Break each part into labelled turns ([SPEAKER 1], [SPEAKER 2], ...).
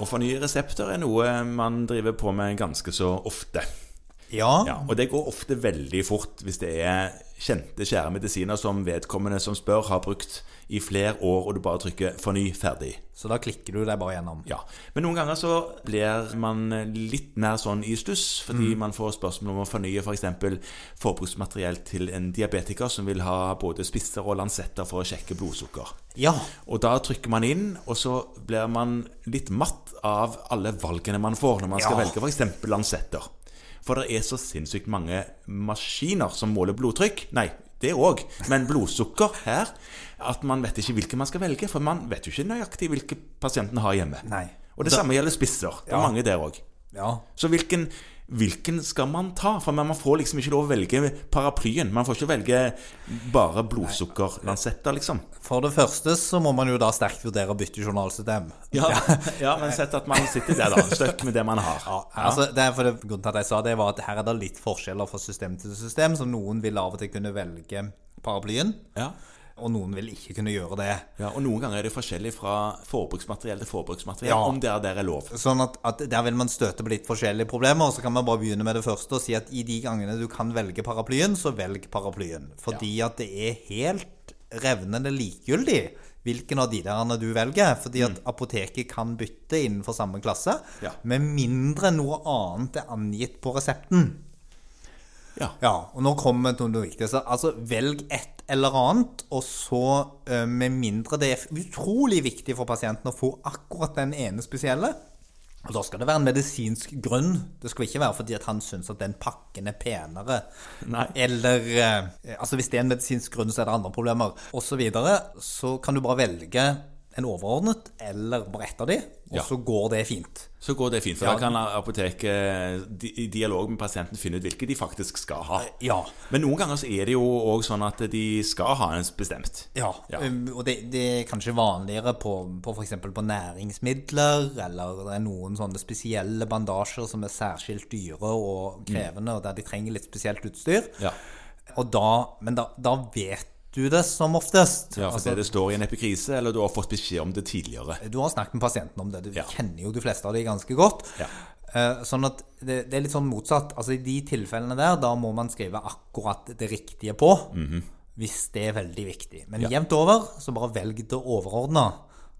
[SPEAKER 1] Å fornye resepter er noe man driver på med ganske så ofte.
[SPEAKER 2] Ja,
[SPEAKER 1] Ja, og det går ofte veldig fort hvis det er kjente, kjære medisiner som vedkommende som spør, har brukt i flere år, og du bare trykker 'forny', ferdig.
[SPEAKER 2] så da klikker du deg bare gjennom.
[SPEAKER 1] Ja. Men noen ganger så blir man litt nær sånn i stuss, fordi man får spørsmål om å fornye f.eks. For forbruksmateriell til en diabetiker som vil ha både spisser og lansetter for å sjekke blodsukker.
[SPEAKER 2] Ja,
[SPEAKER 1] Og da trykker man inn, og så blir man litt matt av alle valgene man får når man skal
[SPEAKER 2] Ja.
[SPEAKER 1] velge f.eks. lansetter. For det er så sinnssykt mange maskiner som måler blodtrykk. Nei, det òg, men blodsukker her. At man vet ikke hvilke man skal velge, for man vet jo ikke nøyaktig hvilke pasienten har hjemme.
[SPEAKER 2] Nei.
[SPEAKER 1] Og det samme gjelder spisser. Det er
[SPEAKER 2] Ja.
[SPEAKER 1] mange der òg.
[SPEAKER 2] ja.
[SPEAKER 1] Så hvilken, hvilken skal man ta? For man man får liksom ikke lov å velge paraplyen. Man får ikke velge bare blodsukkerlansetter, liksom.
[SPEAKER 2] For det første så må man jo da sterkt vurdere å bytte journalsystem.
[SPEAKER 1] Ja, ja, men sett at man sitter der da, støtt med det man har.
[SPEAKER 2] Ja, altså det er for det, Grunnen til at jeg sa det, var at her er det litt forskjeller fra system til system. Så noen vil av og til kunne velge paraplyen,
[SPEAKER 1] Ja.
[SPEAKER 2] og noen vil ikke kunne gjøre det.
[SPEAKER 1] Ja, og noen ganger er det forskjellig fra forbruksmateriell til forbruksmateriell,
[SPEAKER 2] Ja.
[SPEAKER 1] om det er der er lov.
[SPEAKER 2] Sånn at, at der vil man støte på litt forskjellige problemer, og så kan man bare begynne med det første og si at i de gangene du kan velge paraplyen, så velg paraplyen. Fordi at det er helt revnende likegyldig hvilken av de derene du velger. Fordi at apoteket kan bytte innenfor samme klasse,
[SPEAKER 1] Ja.
[SPEAKER 2] med mindre noe annet er angitt på resepten.
[SPEAKER 1] Ja.
[SPEAKER 2] Ja, og nå kommer det noe viktig. Så, altså, velg et eller annet, og så, eh, med mindre det er utrolig viktig for pasienten å få akkurat den ene spesielle, og da skal det være en medisinsk grunn. Det skal ikke være fordi at han syns at den pakken er penere.
[SPEAKER 1] Nei.
[SPEAKER 2] Eller eh, Altså, hvis det er en medisinsk grunn, så er det andre problemer, osv. Så, videre. så kan du bare velge en overordnet eller bare ett av de, og
[SPEAKER 1] Ja.
[SPEAKER 2] så går det fint.
[SPEAKER 1] Så går det fint, for
[SPEAKER 2] Ja.
[SPEAKER 1] da kan apoteket eh, di- i dialog med pasienten finne ut hvilke de faktisk skal ha.
[SPEAKER 2] Ja.
[SPEAKER 1] Men noen ganger så er det jo òg sånn at de skal ha en bestemt.
[SPEAKER 2] Ja,
[SPEAKER 1] Ja.
[SPEAKER 2] um, og det, det er kanskje vanligere på, på f.eks. på næringsmidler, eller det er noen sånne spesielle bandasjer som er særskilt dyre og krevende, og der de trenger litt spesielt utstyr.
[SPEAKER 1] Mm. Ja.
[SPEAKER 2] Og da, men da, da vet du det som oftest.
[SPEAKER 1] Ja, for
[SPEAKER 2] Altså,
[SPEAKER 1] det står i en epikrise, eller du har fått beskjed om det tidligere.
[SPEAKER 2] du har snakket med pasienten om det, du
[SPEAKER 1] Ja.
[SPEAKER 2] kjenner jo de fleste av de ganske godt.
[SPEAKER 1] Ja.
[SPEAKER 2] Eh, Sånn at det, det er litt sånn motsatt. Altså I de tilfellene der, da må man skrive akkurat det riktige på.
[SPEAKER 1] Mhm.
[SPEAKER 2] Hvis det er veldig viktig. Men jevnt over, så bare velg det overordna,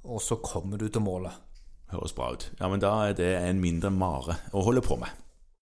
[SPEAKER 2] og så kommer du til målet.
[SPEAKER 1] Høres bra ut. Ja, men da er det en mindre mare å holde på med.